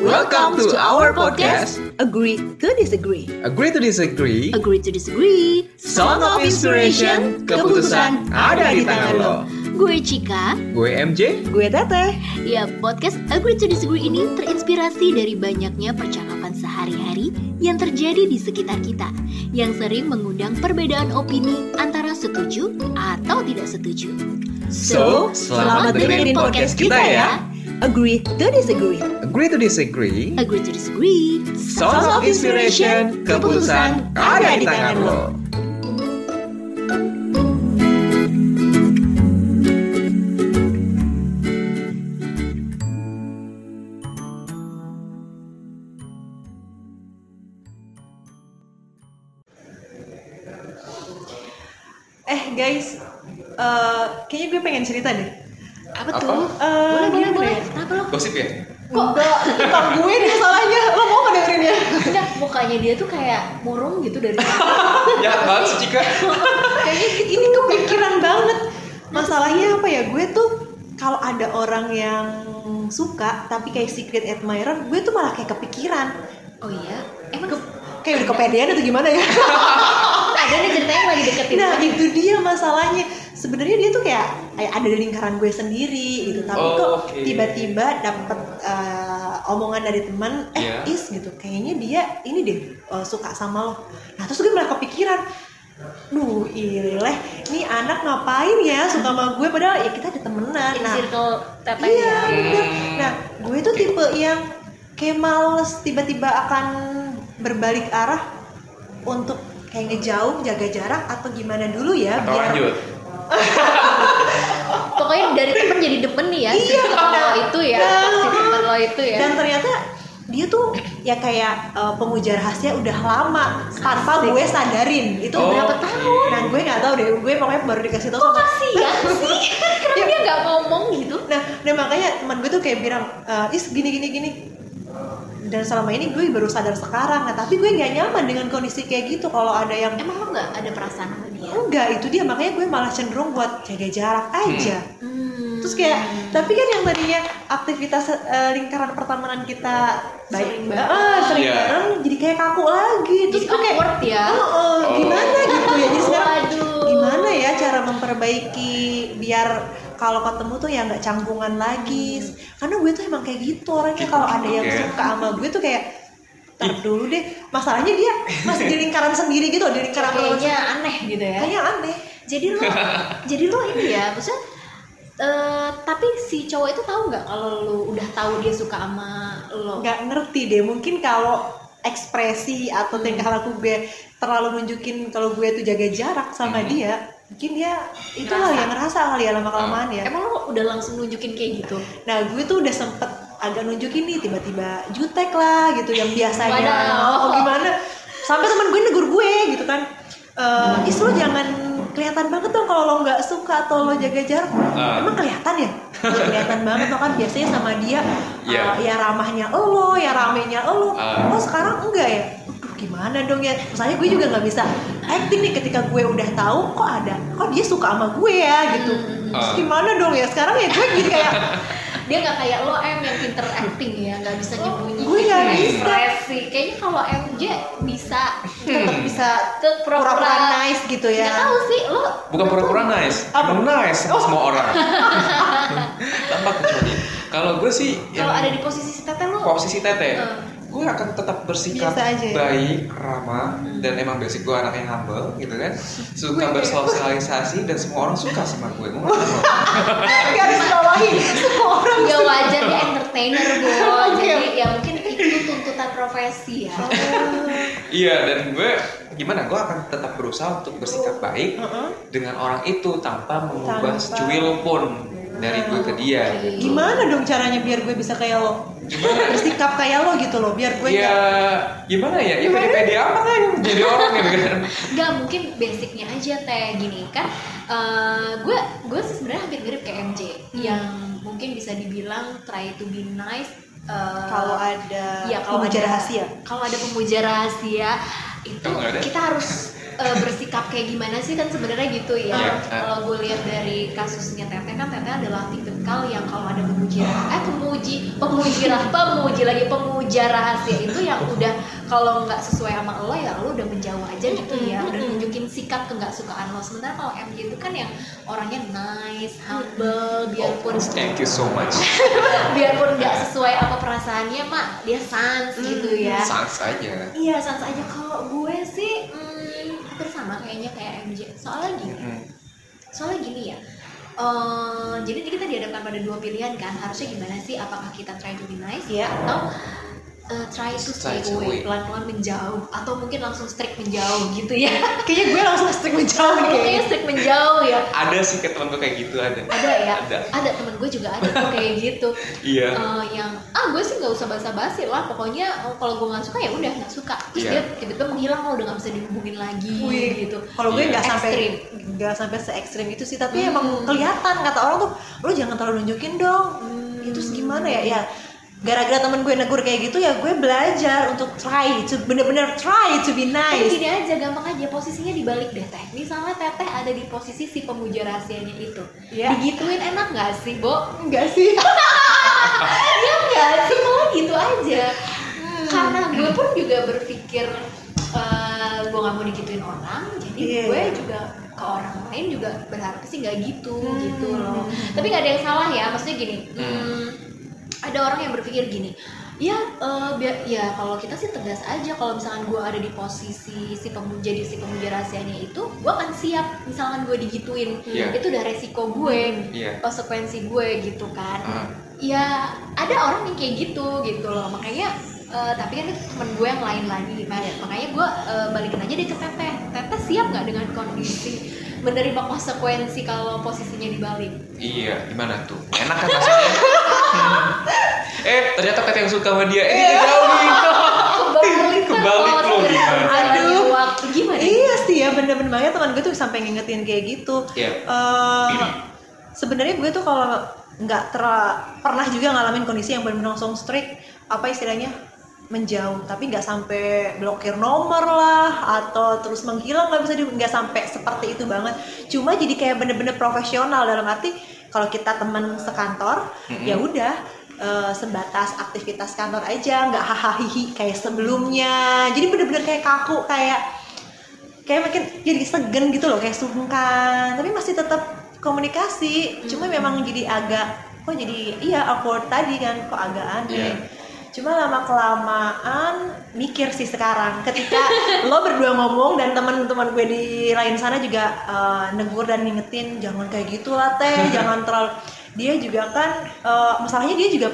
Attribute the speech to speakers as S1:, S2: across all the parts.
S1: Welcome to our podcast.
S2: Agree to disagree.
S1: Agree to disagree.
S2: Agree to disagree.
S1: Song of Inspiration. Keputusan ada di tangan lo.
S3: Gue Cika.
S1: Gue MJ.
S2: Gue Teteh.
S3: Ya, podcast Agree to Disagree ini terinspirasi dari banyaknya percakapan sehari-hari yang terjadi di sekitar kita yang sering mengundang perbedaan opini antara setuju atau tidak setuju.
S1: So, selamat dengerin podcast kita ya.
S2: Agree to disagree.
S1: Agree to disagree.
S3: Agree to Disagree.
S1: Song of Inspiration. Keputusan ada di tangan lo.
S2: Eh guys, eh, kayaknya gue pengen cerita deh.
S3: Apa
S1: Apa?
S3: tuh?
S2: Eh,
S3: boleh, boleh,
S2: gimana
S3: boleh.
S2: ya?
S3: Kenapa lo?
S1: Gosip ya?
S2: Enggak, ntar gue nih salahnya. Lo mau nggak dengerin ya?
S3: Enggak, mukanya dia tuh kayak murung gitu dari
S1: Ya banget sih Cika.
S2: Kayaknya ini kepikiran banget. Masalahnya apa ya? Gue tuh kalau ada orang yang suka tapi kayak secret admirer, gue tuh malah kayak kepikiran.
S3: Oh iya? Emang
S2: Ke- kayak udah kepedean atau gimana ya?
S3: ada nih ceritanya yang lagi deketin
S2: Nah
S3: lagi.
S2: itu dia masalahnya. Sebenarnya dia tuh kayak kayak ada di lingkaran gue sendiri gitu. Tapi
S1: Oh,
S2: kok
S1: oke.
S2: tiba-tiba dapet eh, omongan dari teman, eh
S1: Iya.
S2: is gitu. Kayaknya dia ini deh eh, suka sama lo. Nah terus gue malah kepikiran. Duh, ileh, nih anak ngapain ya suka sama gue padahal ya kita ada temenan.
S3: In
S2: Nah,
S3: circle teteh
S2: Iya,
S3: ya.
S2: bener. Nah, gue tuh tipe yang kayak males tiba-tiba akan berbalik arah untuk kayak ngejauh, jaga jarak atau gimana dulu ya
S1: Atau lanjut.
S3: Pokoknya dari temen jadi demen nih ya.
S2: Iya,
S3: si temen
S2: nah.
S3: lo itu ya. Si temen lo itu ya.
S2: Dan ternyata dia tuh ya kayak uh, pengujar rahasia udah lama tanpa
S3: Asik.
S2: gue sadarin. Itu
S1: Oh,
S2: berapa
S1: oke.
S2: tahun? Nah, gue nggak tahu deh. Gue pokoknya baru dikasih tahu
S3: Kok
S2: sama
S3: kasihan sih? Kenapa
S2: Ya.
S3: dia nggak ngomong gitu?
S2: Nah, dan makanya teman gue tuh kayak bilang, "Eh, is gini gini gini. Dan selama ini gue baru sadar sekarang. Nah, tapi gue nggak nyaman dengan kondisi kayak gitu. Kalau ada yang
S3: Emang lo nggak ada perasaan sama dia?
S2: enggak itu dia, makanya gue malah cenderung buat jaga jarak aja.
S3: Hmm.
S2: Terus kayak, tapi kan yang tadinya aktivitas eh, lingkaran pertemanan kita baik
S3: Sering banget.
S2: Ah, sering
S1: Iya.
S2: bareng, jadi kayak kaku lagi. Terus
S3: Jadi
S2: gue kayak,
S3: awkward ya.
S2: "Oh, oh, gimana gitu ya? Jadi sekarang
S3: Waduh.
S2: gimana ya cara memperbaiki biar kalau ketemu tuh ya nggak canggungan lagi
S3: Hmm.
S2: karena gue tuh emang kayak gitu orangnya
S1: Gitu,
S2: kalau ada yang
S1: ya.
S2: suka sama gue tuh kayak ntar dulu deh masalahnya dia masih di lingkaran sendiri gitu di lingkaran teman
S3: Kayaknya
S2: sendiri.
S3: aneh gitu ya.
S2: kayaknya aneh
S3: Jadi lo, jadi lo ini ya, maksudnya eh, tapi si cowok itu tahu nggak kalau lo udah tahu dia suka sama lo?
S2: nggak ngerti deh mungkin kalau ekspresi atau tingkah laku gue terlalu nunjukin kalau gue tuh jaga jarak sama dia mungkin dia itulah
S3: Ngerasa. Ah.
S2: yang ngerasa kali ya lama kelamaan ya
S3: Emang lo udah langsung nunjukin kayak gitu?
S2: Nah gue tuh udah sempet agak nunjukin nih tiba-tiba jutek lah gitu yang biasanya
S3: Waduh.
S2: oh gimana sampai teman gue negur gue gitu kan Eh is lo jangan kelihatan banget dong kalau lo nggak suka atau lo jaga jarak
S1: Ah.
S2: emang kelihatan ya Ya, kelihatan banget lo kan biasanya sama dia eh,
S1: Iya.
S2: ya ramahnya lo ya ramenya lo
S1: Ah.
S2: lo sekarang enggak ya Aduh, gimana dong ya misalnya gue juga nggak bisa acting nih ketika gue udah tahu kok ada kok dia suka sama gue ya gitu Terus
S1: Ah.
S2: gimana dong ya sekarang ya gue gini kayak
S3: Dia nggak kayak lo M yang pinter acting ya, nggak bisa nyembunyi.
S2: Oh, Gue nggak bisa.
S3: Ekspresi. Kayaknya kalau MJ bisa
S2: tetap
S3: Hmm.
S2: bisa
S3: tetep
S2: pura-pura
S3: pura-pura.
S2: nice Hmm. gitu
S3: Nggak tahu
S2: ya.
S3: sih lo.
S1: Bukan pura-pura nice,
S2: Apa?
S1: emang nice sama semua orang. Tanpa kecuali. Kalau gue sih
S3: Kalau
S1: yang-
S3: ada di posisi si teteh lo,
S1: posisi teteh
S3: Hmm.
S1: gue akan tetap bersikap
S2: Biasa aja ya?
S1: baik ramah dan emang basic gue anaknya humble gitu kan suka bersosialisasi dan semua orang suka sama gue Mau nggak mau.
S2: Garis bawahi semua orang.
S3: nggak wajar dia entertainer bu.
S2: Oke.
S3: Jadi ya mungkin itu tuntutan profesi ya.
S2: Oh.
S1: iya dan gue gimana gue akan tetap berusaha untuk bersikap baik
S2: Heeh.
S1: dengan orang itu tanpa mengubah
S2: Tanpa.
S1: secuil pun dari gue ke dia gitu.
S2: Gimana dong caranya biar gue bisa kayak lo? Bersikap kayak lo gitu loh, biar gue
S1: ya
S2: nggak-
S1: gimana ya ya pede-pede apa kan jadi orang gitu kan
S3: Gak mungkin basicnya aja teh gini kan eh, gue gue sih sebenarnya hampir mirip kayak MJ
S2: Hmm.
S3: yang mungkin bisa dibilang try to be nice eh,
S2: kalau ada
S3: ya, kalau
S2: pengujar Iya,
S3: ada-
S2: rahasia.
S3: kalau ada pemuja rahasia itu
S1: Kalau nggak ada?
S3: kita harus eh, bersikap kayak gimana sih kan sebenarnya gitu ya.
S1: Iya.
S3: Kalau gue lihat dari kasusnya Teteh kan Teteh adalah tipikal yang kalau ada pemuji rah- eh pemuji pemuji rah- pemuji lagi pemuja rahasia itu yang udah kalau nggak sesuai sama lo ya lo udah menjauh aja gitu ya. Udah nunjukin sikap ke nggak sukaan lo. Sementara kalau MJ itu kan yang orangnya nice,
S1: Iya.
S2: Iya,
S3: humble, biarpun
S1: Thank you so much.
S3: biarpun nggak sesuai apa perasaannya mak dia sans gitu ya
S1: Hmm. Sans aja.
S3: iya sans aja kalau gue sih hmm, hampir sama kayaknya kayak MJ soalnya gini
S1: Mm.
S3: soalnya gini ya eh, jadi kita dihadapkan pada dua pilihan kan harusnya gimana sih apakah kita try to be nice
S2: Iya.
S3: ya? atau eh, try to stay
S1: Try to
S3: away
S1: away.
S3: pelan-pelan menjauh atau mungkin langsung strict menjauh gitu ya
S2: Kayaknya Iya, gue langsung strik menjauh nih
S1: gitu
S3: mungkin
S2: kayaknya.
S3: strict menjauh ya
S1: Ada sih ke temen gue kayak gitu ada.
S3: ada ya
S1: Ada.
S3: ada temen gue juga ada tuh kayak gitu
S1: Iya.
S3: Eh, yang ah gue sih nggak usah basa-basi lah pokoknya oh, kalau gue nggak suka ya udah nggak suka terus
S1: Iya.
S3: dia tiba-tiba menghilang lo udah nggak bisa dihubungin lagi
S2: Wih.
S3: gitu
S2: Kalau gue
S1: Iya.
S2: nggak sampai
S3: Ekstrim.
S2: nggak sampai se ekstrim itu sih, tapi
S3: Hmm.
S2: emang kelihatan kata orang tuh, lu jangan terlalu nunjukin dong.
S3: Hmm.
S2: Itu terus gimana ya? Ya gara-gara temen gue negur kayak gitu ya gue belajar untuk try to bener-bener try to be
S3: Tapi
S2: nice.
S3: gini aja gampang aja posisinya dibalik deh teh misalnya teteh ada di posisi si pemuja rahasianya itu
S2: Iya.
S3: digituin enak nggak sih bo
S2: Enggak sih.
S3: ya nggak sih malah gitu aja
S2: 嗯
S3: karena gue pun juga berpikir eh, gue nggak mau digituin orang jadi
S2: Iya.
S3: gue juga ke orang lain juga berharap sih nggak gitu
S2: Hmm.
S3: gitu loh tapi nggak ada yang salah ya maksudnya gini hmm, ada orang yang berpikir gini ya eh, biar ya kalau kita sih tegas aja kalau misalkan gue ada di posisi si pemuja di si pemuja rahasianya itu gue akan siap misalkan gue digituin
S1: Iya.
S3: itu udah resiko gue
S1: Iya.
S3: konsekuensi gue gitu kan
S1: Ah.
S3: ya ada orang yang kayak gitu gitu loh makanya eh, tapi kan itu temen gue yang lain lagi gimana
S1: Iya.
S3: makanya gue eh, balikin aja deh ke Teteh Teteh siap nggak dengan kondisi menerima konsekuensi kalau posisinya dibalik
S1: Iya, gimana tuh? Enak kan rasanya? Hmm. eh, ternyata kata yang suka sama dia. Eh, dia jauh nih.
S3: kebalik kan
S1: Kebalik
S3: kalau
S1: lo
S3: segera
S1: gimana?
S3: berjalannya
S2: Aduh.
S3: waktu gimana
S2: Iya sih ya bener-bener banget teman gue tuh sampai ngingetin kayak gitu.
S1: Iya.
S2: Eh, Sebenarnya gue tuh kalau nggak ter- pernah juga ngalamin kondisi yang benar-benar langsung strict apa istilahnya menjauh tapi nggak sampai blokir nomor lah atau terus menghilang nggak bisa di- nggak sampai seperti itu banget cuma jadi kayak bener-bener profesional dalam arti kalau kita teman sekantor ya udah eh, sebatas aktivitas kantor aja nggak hahaha kayak sebelumnya jadi bener-bener kayak kaku kayak kayak makin jadi segen gitu loh kayak sungkan tapi masih tetap komunikasi cuma
S1: Hmm.
S2: memang jadi agak kok jadi iya awkward tadi kan kok agak aneh
S1: Iya.
S2: cuma lama kelamaan mikir sih sekarang ketika lo berdua ngomong dan teman-teman gue di lain sana juga eh, negur dan ngingetin jangan kayak gitu lah teh jangan terlalu dia juga kan eh, masalahnya dia juga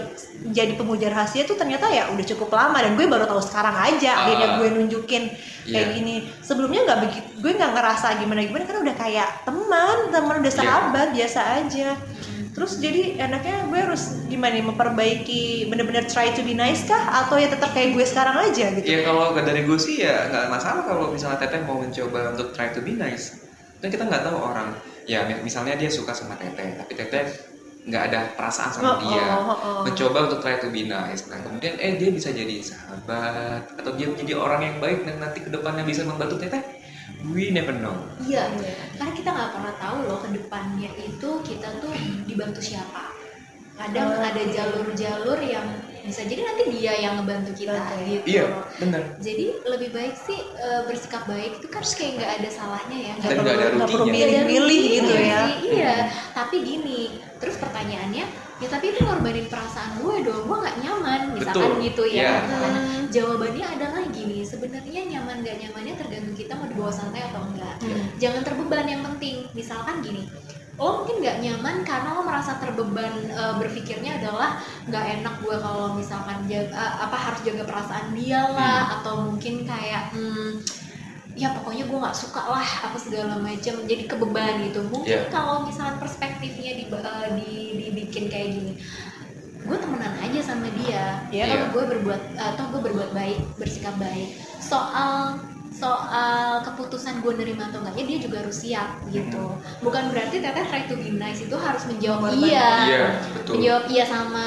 S2: jadi pemuja rahasia tuh ternyata ya udah cukup lama dan gue baru tahu sekarang aja akhirnya
S1: Ah.
S2: gue nunjukin kayak
S1: Iya.
S2: gini sebelumnya nggak begitu gue nggak ngerasa gimana gimana karena udah kayak teman teman udah
S1: Iya.
S2: sahabat biasa aja terus jadi enaknya gue harus gimana nih memperbaiki bener-bener try to be nice kah atau ya tetap kayak gue sekarang aja gitu
S1: Ya kalau dari gue sih ya nggak masalah kalau misalnya Teteh mau mencoba untuk try to be nice. Kan kita nggak tahu orang. Ya mi- misalnya dia suka sama Teteh, tapi Teteh nggak ada perasaan
S2: Oh,
S1: sama dia.
S2: oh, oh, oh.
S1: Mencoba untuk try to be nice. Nah kemudian eh dia bisa jadi sahabat atau dia menjadi orang yang baik dan nanti kedepannya bisa membantu Teteh. We never know.
S3: iya karena kita nggak pernah tahu loh ke depannya itu kita tuh dibantu siapa kadang
S1: Ah.
S2: Oh.
S3: ada jalur-jalur yang bisa jadi nanti dia yang ngebantu kita
S2: Oke.
S3: gitu
S1: Iya,
S3: loh.
S1: benar.
S3: jadi lebih baik sih eh, bersikap baik itu kan harus kayak nggak ada salahnya ya
S1: Dan nggak ada
S2: nggak perlu
S1: ruginya.
S3: Nggak ada
S2: milih-milih
S3: ruginya
S2: gitu ya
S3: sih, iya tapi gini terus pertanyaannya ya tapi itu ngorbanin perasaan gue dong gue nggak nyaman misalkan
S1: Betul,
S3: gitu ya
S1: iya.
S3: Misalkan, jawabannya adalah gini sebenarnya nyaman nggak nyamannya tergantung kita mau dibawa santai atau enggak
S2: Hmm.
S3: jangan terbeban yang penting misalkan gini lo mungkin nggak nyaman karena lo merasa terbeban eh, berpikirnya adalah nggak enak gue kalau misalkan jaga, eh, apa harus jaga perasaan dia lah atau mungkin kayak hmm, ya pokoknya gue nggak suka lah apa segala macam jadi kebeban gitu mungkin
S1: Iya.
S3: kalau misalkan perspektifnya di, eh, di- dibikin kayak gini gue temenan aja sama dia
S2: Iya.
S3: atau gue berbuat atau gue berbuat baik bersikap baik soal soal keputusan gue nerima atau enggaknya dia juga harus siap gitu bukan berarti teteh try to be nice itu harus menjawab
S2: Korban.
S3: iya
S1: Iya, betul.
S3: menjawab iya sama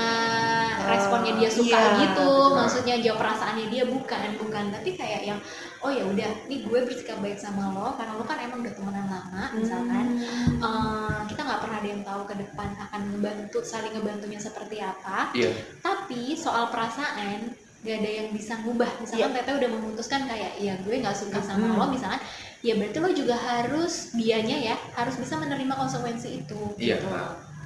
S3: responnya dia suka
S2: Iya,
S3: gitu
S2: betul.
S3: maksudnya jawab perasaannya dia bukan bukan tapi kayak yang oh ya udah nih gue bersikap baik sama lo karena lo kan emang udah temenan lama misalkan
S2: Hmm.
S3: Eh, kita nggak pernah ada yang tahu ke depan akan ngebantu saling ngebantunya seperti apa
S1: Iya.
S3: tapi soal perasaan gak ada yang bisa ngubah misalkan
S1: Iya.
S3: teteh udah memutuskan kayak ya gue nggak suka sama
S2: Hmm.
S3: lo misalkan ya berarti lo juga harus dianya ya harus bisa menerima konsekuensi itu
S1: Iya.
S3: gitu.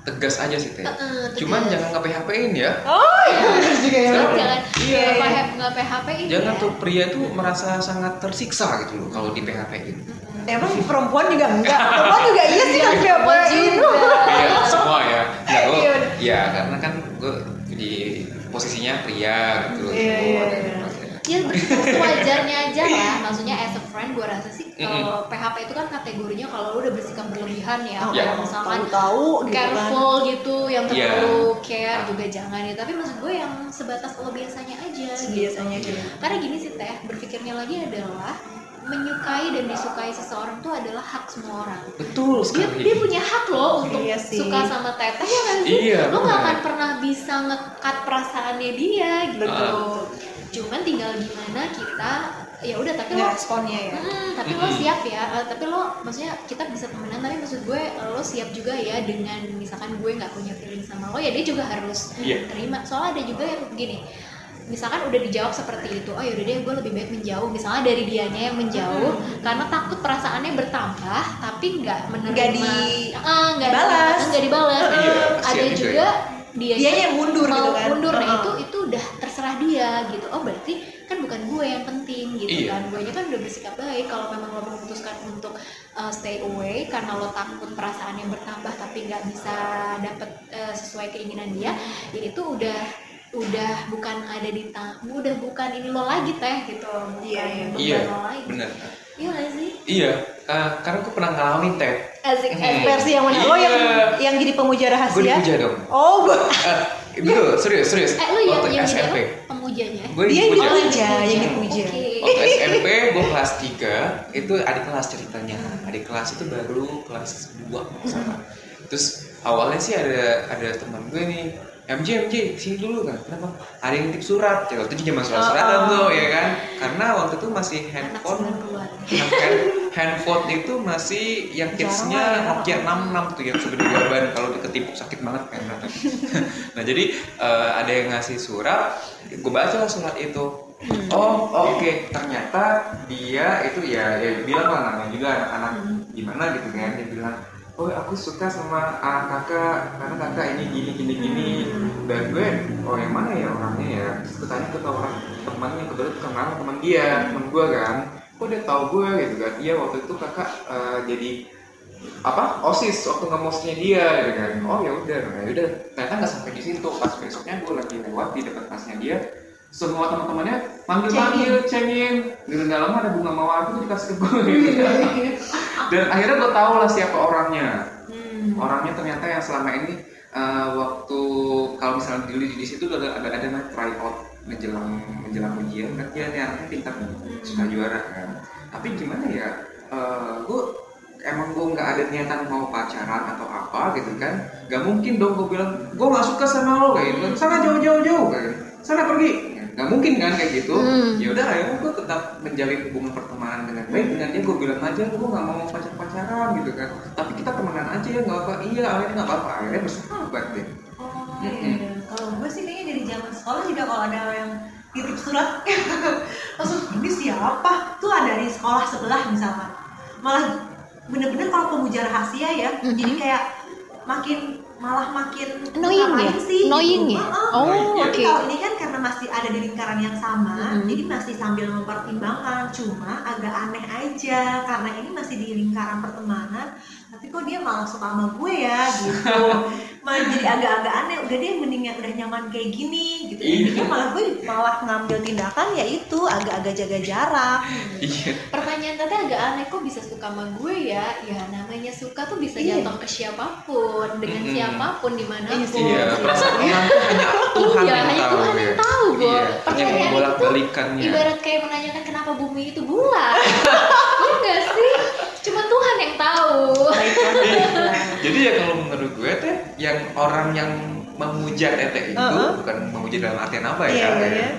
S1: Tegas aja sih Teh.
S3: Heeh,
S1: Cuman jangan
S3: tegas.
S1: nge PHP-in ya.
S2: Bener Oh, juga ya.
S3: Terus
S1: Sekarang-
S3: jangan
S2: Iya,
S3: nggak
S2: iya.
S3: PH- nggak PHP ini
S1: Jangan
S3: ya.
S1: tuh pria tuh merasa sangat tersiksa gitu loh kalau di PHP-in.
S3: Mm-mm.
S2: Emang perempuan juga enggak. Perempuan juga iya sih kan kayak
S3: Gue juga.
S1: Iya, semua ya. Nah, lo,
S2: Iya.
S1: ya karena kan gue di posisinya pria gitu. loh,
S2: Iya, iya,
S1: ada
S2: iya.
S1: masalah.
S3: ya bersikap sewajarnya aja lah maksudnya as a friend gue rasa sih kalau PHP itu kan kategorinya kalau lu udah bersikap berlebihan ya
S1: Iya.
S3: kalau misalkan
S2: tahu gitu kan.
S3: careful gitu yang
S1: Iya.
S3: terlalu care juga jangan ya tapi maksud gue yang sebatas lo biasanya aja gitu
S2: Biasanya gitu.
S3: karena gini sih teh berpikirnya lagi adalah menyukai dan disukai seseorang tuh adalah hak semua orang
S1: Betul
S2: kan
S3: dia,
S1: sekali.
S3: dia punya hak loh untuk
S2: Iya sih.
S3: suka sama teteh ya kan sih
S1: Iya,
S3: lo gak
S1: benar.
S3: akan pernah bisa ngekat perasaannya dia gitu
S2: Betul.
S3: cuman tinggal gimana kita ya udah tapi lo
S2: Responnya ya.
S3: Hmm, tapi lo
S1: Mm-mm.
S3: siap ya Eh, tapi lo maksudnya kita bisa temenan tapi maksud gue lo siap juga ya dengan misalkan gue nggak punya feeling sama lo ya dia juga harus
S1: Iya.
S3: terima soalnya ada juga yang gini misalkan udah dijawab seperti itu oh yaudah deh gue lebih baik menjauh misalnya dari dianya yang menjauh karena takut perasaannya bertambah tapi nggak menerima
S2: Nggak di-
S3: Eh, nggak
S2: dibalas.
S3: nggak dibalas
S1: Iya, kasihan
S3: ada
S1: juga
S3: juga dia
S2: Dianya yang mundur
S3: mau
S2: gitu kan.
S3: mundur nah
S2: Heeh.
S3: itu itu udah terserah dia gitu oh berarti kan bukan gue yang penting
S1: Iya.
S3: gitu kan gue nya kan udah bersikap baik kalau memang lo memutuskan untuk uh, stay away karena lo takut perasaan yang bertambah tapi nggak bisa dapet uh, sesuai keinginan dia ya itu udah udah bukan ada di tang udah bukan ini lo lagi teh gitu bukan
S2: Iya, iya.
S3: beban
S1: Iya,
S3: lo lagi
S1: benar.
S3: iya nggak sih
S1: Iya, eh, karena gue pernah ngalamin teh.
S2: Asik,
S1: Hmm.
S2: versi yang mana? Oh yang
S1: Iya.
S2: yang jadi pemuja
S1: Gue
S2: rahasia.
S1: dipuja dong.
S2: Oh, bu-
S1: Eh, bro, serius, serius.
S3: eh lo yang
S1: Waktu
S3: yang jadi apa
S1: SMP.
S3: pemujanya
S1: Gue
S2: Dia yang
S1: dipuja.
S2: dipuja. yang dipuja.
S3: Oke.
S1: Waktu SMP gue kelas 3 itu adik kelas ceritanya. Adik kelas itu baru kelas 2 kalau nggak salah. Terus awalnya sih ada ada teman gue nih MJ MJ sini dulu kan kenapa ada yang titip surat ya waktu itu zaman surat suratan
S2: Oh.
S1: tuh ya kan karena waktu itu masih
S3: anak
S1: handphone
S3: 90-an
S1: hand- handphone itu masih yang
S2: Jarang
S1: tipsnya
S2: lah ya.
S1: Nokia 66 tuh yang segede gaban kalau diketipuk sakit banget kan nah jadi eh, ada yang ngasih surat gue baca lah surat itu oh oke ternyata dia itu ya ya bilang lah namanya juga anak-anak gimana gitu kan dia bilang oh aku suka sama ah, kakak karena kakak ini gini gini gini dan gue oh yang mana ya orangnya ya terus gue tanya ke tuh orang temannya kebetulan kenal teman dia teman gue kan kok dia tahu gue gitu kan iya waktu itu kakak eh, jadi apa osis waktu ngemosnya dia gitu kan oh ya udah ya udah ternyata nggak sampai di situ pas besoknya gue lagi lewat di dekat kelasnya dia semua teman-temannya manggil manggil cengin di dalam ada bunga mawar itu dikasih ke gue gitu kan. dan akhirnya gue tahu lah siapa orangnya
S3: Hmm.
S1: orangnya ternyata yang selama ini eh, waktu kalau misalnya dulu di, di situ tuh ada ada ada namanya tryout menjelang menjelang ujian kan dia nih anaknya pintar nih suka juara kan tapi gimana ya eh, gue emang gue nggak ada niatan mau pacaran atau apa gitu kan nggak mungkin dong gue bilang gue nggak suka sama lo kayak gitu sana jauh jauh jauh kayak gitu. sana pergi nggak mungkin kan kayak gitu
S4: Hmm.
S1: ya udah akhirnya gue tetap menjalin hubungan pertemanan dengan baik dengan dia gue bilang aja gue nggak mau pacar pacaran gitu kan tapi kita temenan aja ya nggak apa iya akhirnya nggak apa apa akhirnya bersahabat deh
S2: Oh, iya. Kalau gue sih kayaknya dari zaman sekolah juga kalau ada yang titip surat langsung ini siapa? Tuh ada di sekolah sebelah misalkan. Malah bener-bener kalau pemuja rahasia ya,
S4: Mhm.
S2: jadi kayak makin malah makin
S4: Annoying ya?
S2: ngapain sih? gitu.
S4: Annoying ya?
S2: Heeh.
S4: Oh,
S1: Annoying,
S2: Tapi
S4: oke.
S2: kalau ini kan karena masih ada di lingkaran yang sama,
S4: Mhm.
S2: jadi masih sambil mempertimbangkan. Cuma agak aneh aja karena ini masih di lingkaran pertemanan. Tapi kok dia malah suka sama gue ya gitu. malah jadi agak-agak aneh. Udah deh mendingan udah nyaman kayak gini gitu.
S1: Iya.
S2: Jadinya malah gue malah ngambil tindakan yaitu agak-agak jaga jarak.
S1: iya
S3: Pertanyaan tadi agak aneh kok bisa suka sama gue ya? Ya namanya suka tuh bisa
S2: Iya.
S3: jatuh ke siapapun, dengan
S1: Mm-mm.
S3: siapapun dimanapun.
S2: Iya sih.
S1: iya
S3: Jadi,
S1: perasaan orang tuh hanya Tuhan
S3: Gitu. Iya,
S1: yang
S3: hanya
S1: tahu
S3: Tuhan
S1: ya.
S3: yang tahu, Bo.
S1: iya hanya
S3: Pertanyaan itu
S1: bolak balikannya
S3: Ibarat kayak menanyakan kenapa bumi itu bulat. Enggak sih? Cuma Tuhan yang tahu.
S2: Baik, baik, baik.
S1: Jadi ya kalau menurut gue teh yang orang yang memuja teteh itu
S2: Uh-uh.
S1: bukan memuja dalam artian apa ya?
S2: Iya,
S1: Kak,
S2: iya,
S1: ya?
S2: iya.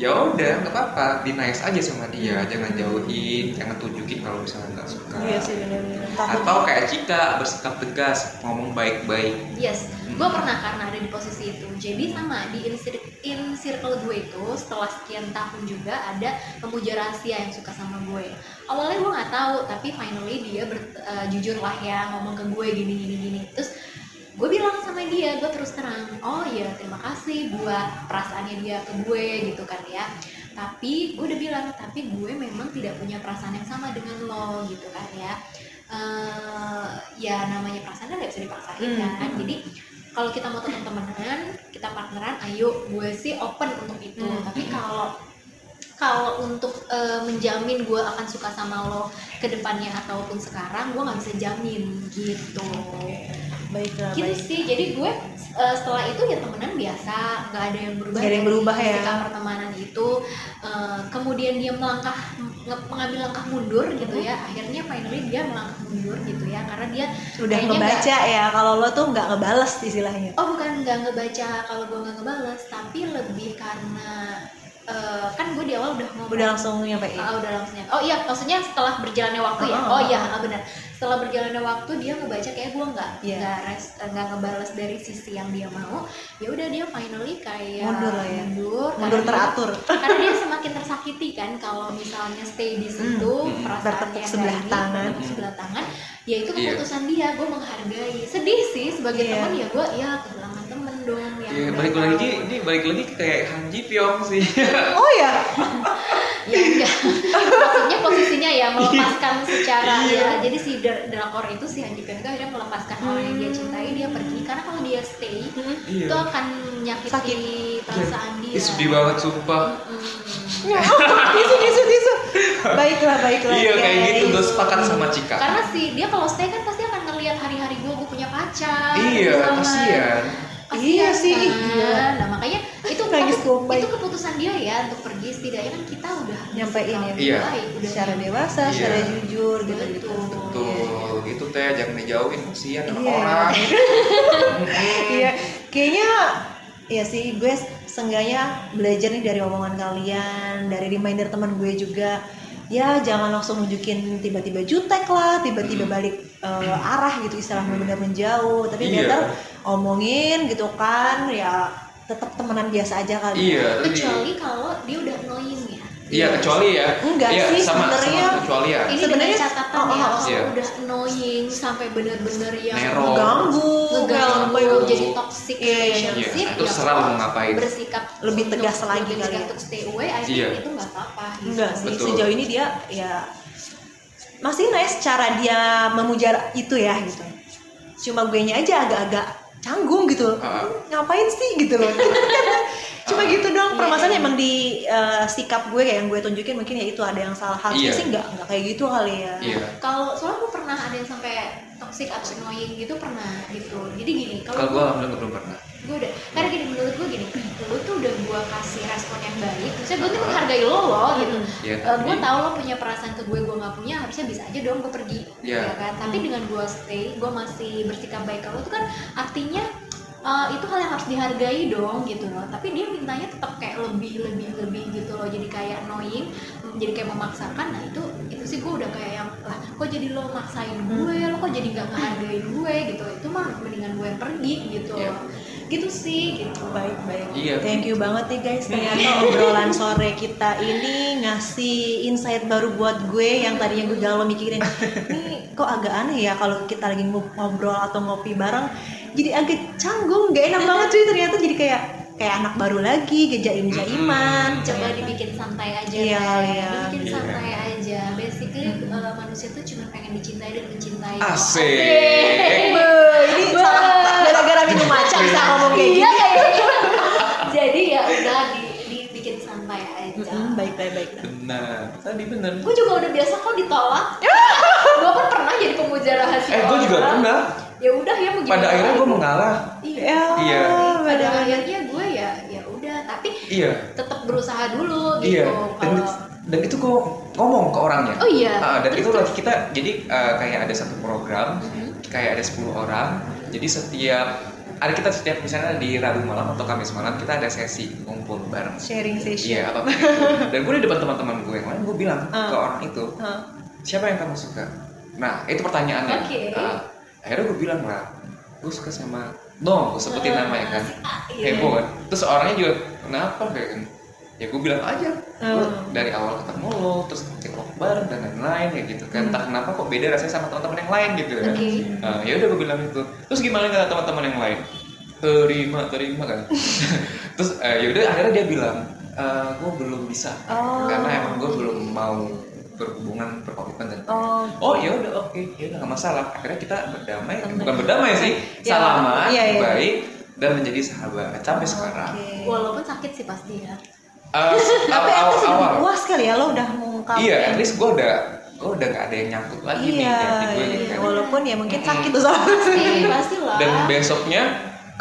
S1: Ya udah, nggak apa-apa, be nice aja sama dia, jangan jauhin, jangan tunjukin kalau misalnya nggak suka.
S2: Iya sih benar-benar. Takut.
S1: Atau kayak Cika bersikap tegas, ngomong baik-baik.
S3: Yes, gue pernah karena ada di posisi itu. Jadi sama di in, cir- in circle gue itu setelah sekian tahun juga ada pemuja rahasia yang suka sama gue. Awalnya gue nggak tahu, tapi finally dia ber- eh, jujur lah ya ngomong ke gue gini gini gini. Terus gue bilang sama dia, gue terus terang, oh ya terima kasih buat perasaannya dia ke gue gitu kan ya. Tapi gue udah bilang, tapi gue memang tidak punya perasaan yang sama dengan lo gitu kan ya. Eh, ya namanya perasaan kan nggak bisa dipaksain
S2: Hmm.
S3: kan. Jadi kalau kita mau teman-temenan, kita partneran, ayo gue sih open untuk itu.
S2: Hmm.
S3: Tapi kalau kalau untuk eh, menjamin gue akan suka sama lo ke depannya ataupun sekarang, gue nggak bisa jamin gitu.
S2: Baiklah,
S3: Gitu
S2: baik.
S3: sih. Jadi gue eh, setelah itu ya temenan biasa, nggak ada yang berubah.
S2: Nggak ada yang
S3: dari
S2: berubah ya.
S3: Ketika pertemanan itu, eh, kemudian dia melangkah nge- mengambil langkah mundur gitu ya.
S2: Mm-hmm.
S3: Akhirnya finally dia melangkah mundur gitu ya, karena dia
S2: Udah
S3: kayaknya
S2: ngebaca ya kalau lo tuh nggak ngebales istilahnya.
S3: Oh bukan nggak ngebaca kalau gue nggak ngebales, tapi lebih karena eh, kan gue di awal udah ngomong
S2: Udah langsung nyampein.
S3: Ah, udah langsung nyampe. Oh iya, maksudnya setelah berjalannya waktu ya.
S2: Ah.
S3: Oh iya, ah, benar. Setelah berjalannya waktu dia ngebaca kayak gue nggak
S2: Iya.
S3: nggak res- eh, nggak ngebales dari sisi yang dia mau. Ya udah dia finally kayak
S2: Mundur lah ya. Mundur
S3: mundur, karena dia-
S2: teratur.
S3: karena dia semakin tersakiti kan kalau misalnya stay di situ
S1: Hmm.
S3: perasaan
S2: Bertepuk
S3: yang
S2: sebelah
S3: dari-
S2: tangan. Hmm.
S3: bertepuk sebelah tangan ya itu
S1: Iya.
S3: keputusan dia gue menghargai sedih sih sebagai
S2: Iya.
S3: teman ya gue ya kehilangan temen dong yang
S1: Ya,
S3: udah
S1: balik
S3: tahu.
S1: lagi, ini balik lagi ke kayak Han Ji Pyong sih.
S2: Oh ya,
S3: ya enggak maksudnya posisinya ya melepaskan secara
S1: Iya.
S3: ya jadi si dra- drakor itu si Hanji Pyong itu akhirnya melepaskan orang yang dia cintai dia pergi karena kalau dia stay
S1: Iya.
S3: itu akan menyakiti
S2: Sakit.
S3: perasaan dia
S1: Ih, sedih banget sumpah.
S3: Mm-mm.
S2: tisu tisu tisu. Baiklah, baiklah.
S1: Iya kayak
S2: guys.
S1: gitu, gue sepakat sama Cika.
S3: karena si dia kalau stay kan pasti akan ngelihat hari-hari gue gue punya pacar
S1: Iya,
S3: bersama.
S1: kasihan.
S3: Kasihan
S2: Iya sih,
S3: kan.
S2: iya.
S3: nah makanya itu
S2: Nangis
S3: tapi
S2: gombai.
S3: itu keputusan dia ya untuk pergi setidaknya kan kita udah
S2: Nyampein ya.
S1: Iya.
S3: baik, udah gitu.
S2: Secara dewasa,
S1: Iya.
S2: secara jujur gitu-gitu.
S3: Betul.
S1: Tuh, gitu teh jangan dijauhin kasihan sama
S2: Iya.
S1: orang.
S2: Iya, kayaknya ya sih gue sengganya belajar nih dari omongan kalian, dari reminder teman gue juga. Ya jangan langsung nunjukin tiba-tiba jutek lah, tiba-tiba balik eh, arah gitu istilah benar menjauh. Tapi
S1: Iya.
S2: better omongin gitu kan, ya tetap temenan biasa aja kali.
S1: Iya, tadi.
S3: kecuali kalau dia udah annoying ya
S1: Iya, kecuali ya.
S2: Enggak
S1: iya,
S2: sih,
S1: sama,
S2: sebenarnya. Iya.
S1: sama kecuali ya.
S3: ini
S2: Sebenarnya-
S3: sebenarnya catatan
S2: oh, oh,
S3: ya
S2: oh.
S3: kalau
S1: Iya.
S3: udah annoying sampai bener-bener yang
S1: Nero.
S2: Ganggu,
S3: ngeganggu
S1: Nggak.
S3: jadi toxic
S2: Oh, Iya, iya.
S1: Iya,
S3: relationship
S1: itu serah mau ngapain.
S3: bersikap
S2: Lebih tegas
S3: untuk-
S2: lagi
S3: lebih
S2: kali
S3: tegas
S2: ya.
S3: untuk stay away I think
S1: Iya.
S3: itu nggak apa-apa gitu.
S2: enggak sih
S1: Betul.
S2: sejauh ini dia ya masih nice cara dia memuja itu ya gitu cuma gue nya aja agak-agak canggung gitu loh.
S1: Ah.
S2: ngapain sih gitu loh cuma gitu dong
S3: Iya,
S2: permasalahannya
S3: iya.
S2: emang di eh, sikap gue kayak yang gue tunjukin mungkin ya itu ada yang salah harusnya
S1: Iya.
S2: sih nggak nggak kayak gitu kali ya
S1: Iya.
S3: kalau soalnya gue pernah ada yang sampai toxic atau annoying gitu pernah gitu jadi gini
S1: Kalau
S3: kalau
S1: gue alhamdulillah belum pernah.
S3: gue udah karena gini menurut gue gini lu tuh udah gue kasih respon yang baik terusnya gue tuh menghargai lo loh gitu
S2: Hmm.
S1: Iya, tapi-
S3: gue tau lo punya perasaan ke gue gue nggak punya harusnya bisa aja dong gue pergi
S1: Iya.
S3: ya kan tapi
S2: Hmm.
S3: dengan gue stay gue masih bersikap baik ke lo tuh kan artinya eh, itu hal yang harus dihargai dong gitu loh tapi dia mintanya tetap kayak lebih lebih lebih gitu loh jadi kayak annoying jadi kayak memaksakan nah itu itu sih gue udah kayak yang lah kok jadi lo maksain gue
S2: Hmm.
S3: lo kok jadi nggak ngehargain gue gitu itu mah mendingan gue yang pergi gitu
S1: Iya.
S3: gitu sih gitu
S2: baik baik
S1: Iya.
S2: thank you banget nih guys ternyata obrolan sore kita ini ngasih insight baru buat gue yang tadinya gue galau mikirin ini kok agak aneh ya kalau kita lagi ngob- ngobrol atau ngopi bareng jadi agak canggung nggak enak banget cuy ternyata jadi kayak kayak anak baru lagi gejaim jaiman
S1: Mm-mm.
S3: coba dibikin santai aja
S2: Iya,
S3: Nay.
S2: iya.
S3: dibikin
S1: Iya.
S3: santai aja basically eh, manusia tuh cuma pengen dicintai dan mencintai
S1: Asik.
S2: ini salah gara-gara minum maca bisa ngomong kayak
S3: iya
S2: gitu
S3: kayak gitu jadi ya udah di, dibikin santai aja
S2: Mm, baik baik baik
S1: Benar. Tadi benar.
S3: gue juga udah biasa kok ditolak
S2: Ya.
S3: gue pun pernah jadi pemuja rahasia
S1: Eh, gue juga
S3: orang.
S1: pernah.
S3: ya udah ya mau
S1: Pada
S3: gimana
S1: akhirnya gue mengalah.
S3: iya
S2: ya
S1: Iya.
S3: pada
S2: benar-benar.
S3: akhirnya gue ya ya udah tapi
S1: Iya.
S3: tetap berusaha dulu gitu
S1: Iya. Dan,
S3: kalau
S1: dan itu gue ngomong ke orangnya.
S3: Oh iya.
S1: Ah, dan
S3: Terus,
S1: itu lagi kita jadi eh, kayak ada satu program
S3: Mhm.
S1: kayak ada 10 orang jadi setiap ada kita setiap misalnya di Rabu malam atau Kamis malam kita ada sesi ngumpul bareng
S2: sharing session.
S1: iya apapun itu. dan gue di depan teman-teman gue yang lain gue bilang
S2: Ah.
S1: ke orang itu
S2: Hah.
S1: siapa yang kamu suka nah itu pertanyaannya
S3: Oke.
S1: Ah, akhirnya gue bilang lah gue suka sama no gue sebutin
S3: Ah,
S1: namanya kan
S3: si A, iya.
S1: heboh kan terus orangnya juga kenapa kayak kan ya gue bilang aja
S3: Ah.
S1: Lu
S2: Hmm.
S1: dari awal ketemu lo terus ngecek bareng dan lain-lain ya gitu kan
S2: Hmm.
S1: entah kenapa kok beda rasanya sama teman-teman yang lain gitu kan
S3: Oke.
S1: Nah, ya udah gue bilang itu terus gimana kata teman-teman yang lain terima terima kan terus eh, ya udah akhirnya dia bilang "Eh, gue belum bisa
S2: Oh.
S1: karena emang gue belum mau berhubungan berkomitmen dan
S2: Oh.
S1: Oh ya udah oke, ya udah nggak masalah. Akhirnya kita berdamai,
S2: Temen.
S1: bukan berdamai sih,
S2: Ya,
S1: salaman,
S2: iya, iya.
S1: baik dan menjadi sahabat sampai sekarang.
S2: Oke.
S3: Walaupun sakit sih pasti ya.
S1: Eh,
S2: Tapi
S1: awal-
S2: aku sudah
S1: awal-
S2: puas kali ya lo udah mengungkapin.
S1: Iya, at least gue udah gue udah gak ada yang nyangkut lagi nih di
S2: Iya,
S1: hati gue gitu
S2: iya.
S1: kan.
S2: walaupun ya mungkin
S1: Mm-mm.
S2: sakit tuh soalnya.
S3: Pasti, pasti lah.
S1: Dan besoknya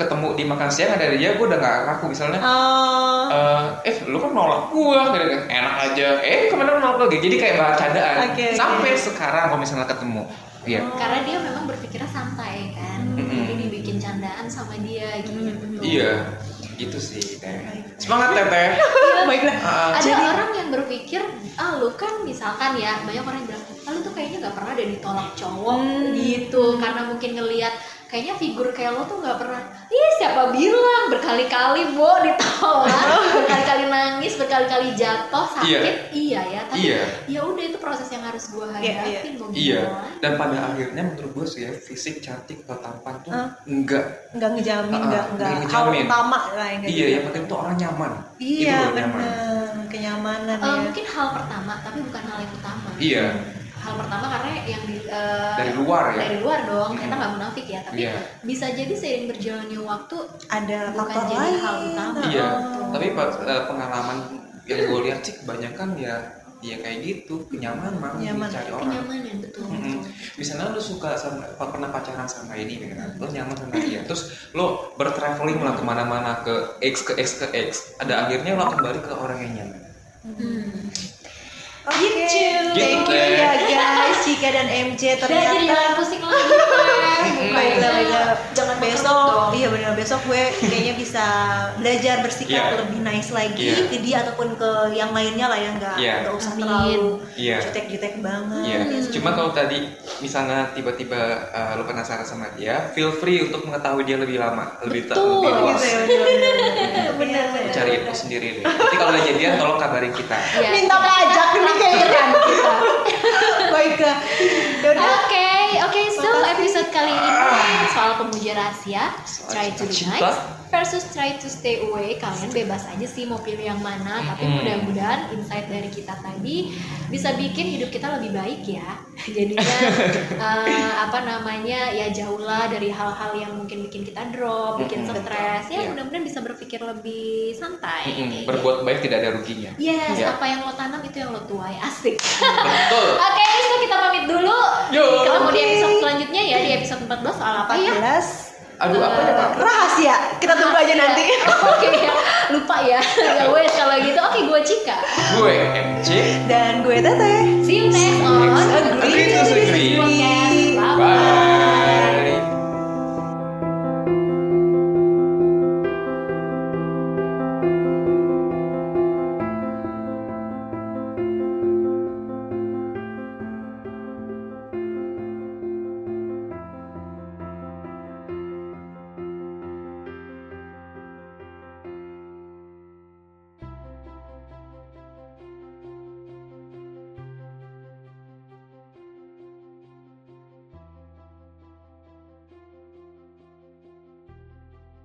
S1: ketemu di makan siang ada dia, gue udah gak ngaku misalnya.
S2: Oh,
S1: eh, eh, lu kan nolak gua, gitu kan. enak aja. Eh, kemana lu nolak lagi? Jadi kayak bahan candaan.
S2: Oke, oke.
S1: Sampai sekarang kalau misalnya ketemu, iya.
S3: Karena dia memang berpikirnya santai kan.
S1: Mm-mm.
S3: Jadi dibikin candaan sama dia gitu.
S2: Mm-mm.
S1: Iya, gitu sih. Teh. Semangat teteh.
S2: baiklah.
S1: Ah,
S3: Ada
S2: Jadi-
S3: orang yang berpikir, ah lu kan misalkan ya, banyak orang yang bilang, ah lu tuh kayaknya nggak pernah ada ditolak cowok
S2: Hmm.
S3: gitu, karena mungkin ngelihat kayaknya figur kayak lo tuh nggak pernah. Iya siapa bilang berkali-kali bo ditolak, berkali-kali nangis, berkali-kali jatuh sakit, iya ya. Tapi
S1: Iya.
S3: ya udah itu proses yang harus gua
S2: Iya, iya.
S3: hadapin mau
S1: Iya,
S3: gimana lagi.
S1: dan pada akhirnya menurut gue sih ya, fisik cantik atau tampan tuh
S2: Hah?
S1: enggak.
S2: nggak ngejamin,
S1: Ah,
S2: nggak nggak
S1: nggak
S2: hal
S1: ngejamin.
S2: utama lah yang nggak
S1: Iya, yang
S2: ngejamin.
S1: penting tuh orang nyaman.
S2: Iya,
S1: Itu loh, nyaman.
S2: benar kenyamanan
S3: Eh,
S2: ya.
S3: mungkin hal pertama, tapi bukan hal yang utama.
S1: Iya,
S3: Hal pertama karena yang di, eh,
S1: dari luar ya.
S3: dari luar dong, kita
S1: Mm.
S3: nggak munafik ya, tapi
S1: Iya.
S3: bisa jadi seiring berjalannya waktu
S2: Ada
S3: bukan
S2: faktor
S3: jadi
S2: lain.
S3: hal utama.
S1: Iya,
S2: Oh.
S1: tapi pa- eh, pengalaman yang gue lihat sih kebanyakan ya ya kayak gitu, kenyamanan yang
S2: Nyaman,
S1: dicari orang.
S3: kenyamanan betul
S1: Mm-mm.
S3: betul.
S1: Misalnya lu suka sama pa- pernah pacaran sama ini, gitu kan? lu nyaman sama dia, terus lu bertraveling lah kemana-mana ke X ke X ke X, ada akhirnya lo kembali ke orang yang nyaman.
S3: Hmm.
S2: Oke,
S3: Gitu.
S2: Oh, thank you
S1: Gitu,
S2: ya guys, Cika dan MJ
S3: Udah jadi
S2: ternyata.
S3: jangan pusing lagi Pak.
S2: Baiklah, baiklah.
S3: Jangan
S2: besok,
S3: dong.
S2: iya benar besok gue kayaknya bisa belajar bersikap
S1: Iya.
S2: lebih nice lagi
S1: Iya.
S2: ke dia ataupun ke yang lainnya lah ya nggak
S1: Iya.
S2: nggak usah
S3: Amin.
S2: terlalu
S1: Iya.
S2: jutek-jutek banget.
S1: Iya,
S2: Ya,
S1: cuma kalau tadi misalnya tiba-tiba eh, lo penasaran sama dia, feel free untuk mengetahui dia lebih lama, lebih ta-
S3: Betul,
S1: lebih luas.
S2: gitu ya, bener-bener.
S3: Bener,
S2: Iya,
S3: bener.
S1: Cari info sendiri deh. Nanti kalau udah jadian tolong kabarin kita.
S3: Iya.
S2: Minta pajak ini kayaknya.
S3: kita.
S2: Baiklah. Yaudah.
S3: Oke, oke. So episode kali ini soal pemuja rahasia,
S1: Ah. Soal
S3: try to be
S1: cinta-cinta.
S3: nice versus try to stay away. Kalian bebas aja sih mau pilih yang mana. Tapi
S1: Mm-mm.
S3: mudah-mudahan insight dari kita tadi bisa bikin hidup kita lebih baik ya. Jadinya eh, apa namanya ya jauhlah dari hal-hal yang mungkin bikin kita drop, bikin
S1: Mm-mm.
S3: stres.
S1: Iya.
S3: Ya mudah-mudahan bisa berpikir lebih santai.
S1: Mm-mm,
S3: Kayak gitu.
S1: Berbuat baik tidak ada ruginya.
S3: Yes,
S1: Iya.
S3: apa yang lo tanam itu yang lo tuai. Asik.
S1: Betul.
S3: Oke, so kita pamit dulu.
S1: Yo.
S3: Ketemu di
S2: Oke.
S3: episode selanjutnya ya di episode 14 soal apa ya?
S2: 14
S1: Aduh, apa ya, Pak?
S2: rahasia. Kita tunggu Iya, aja nanti.
S3: Oke ya, lupa ya. Ya wes kalau gitu. Oke, gue Cika.
S1: Gue MC.
S2: Dan gue Teteh.
S3: See you next on
S2: Agree to disagree.
S3: Podcast. Bye.
S1: Bye.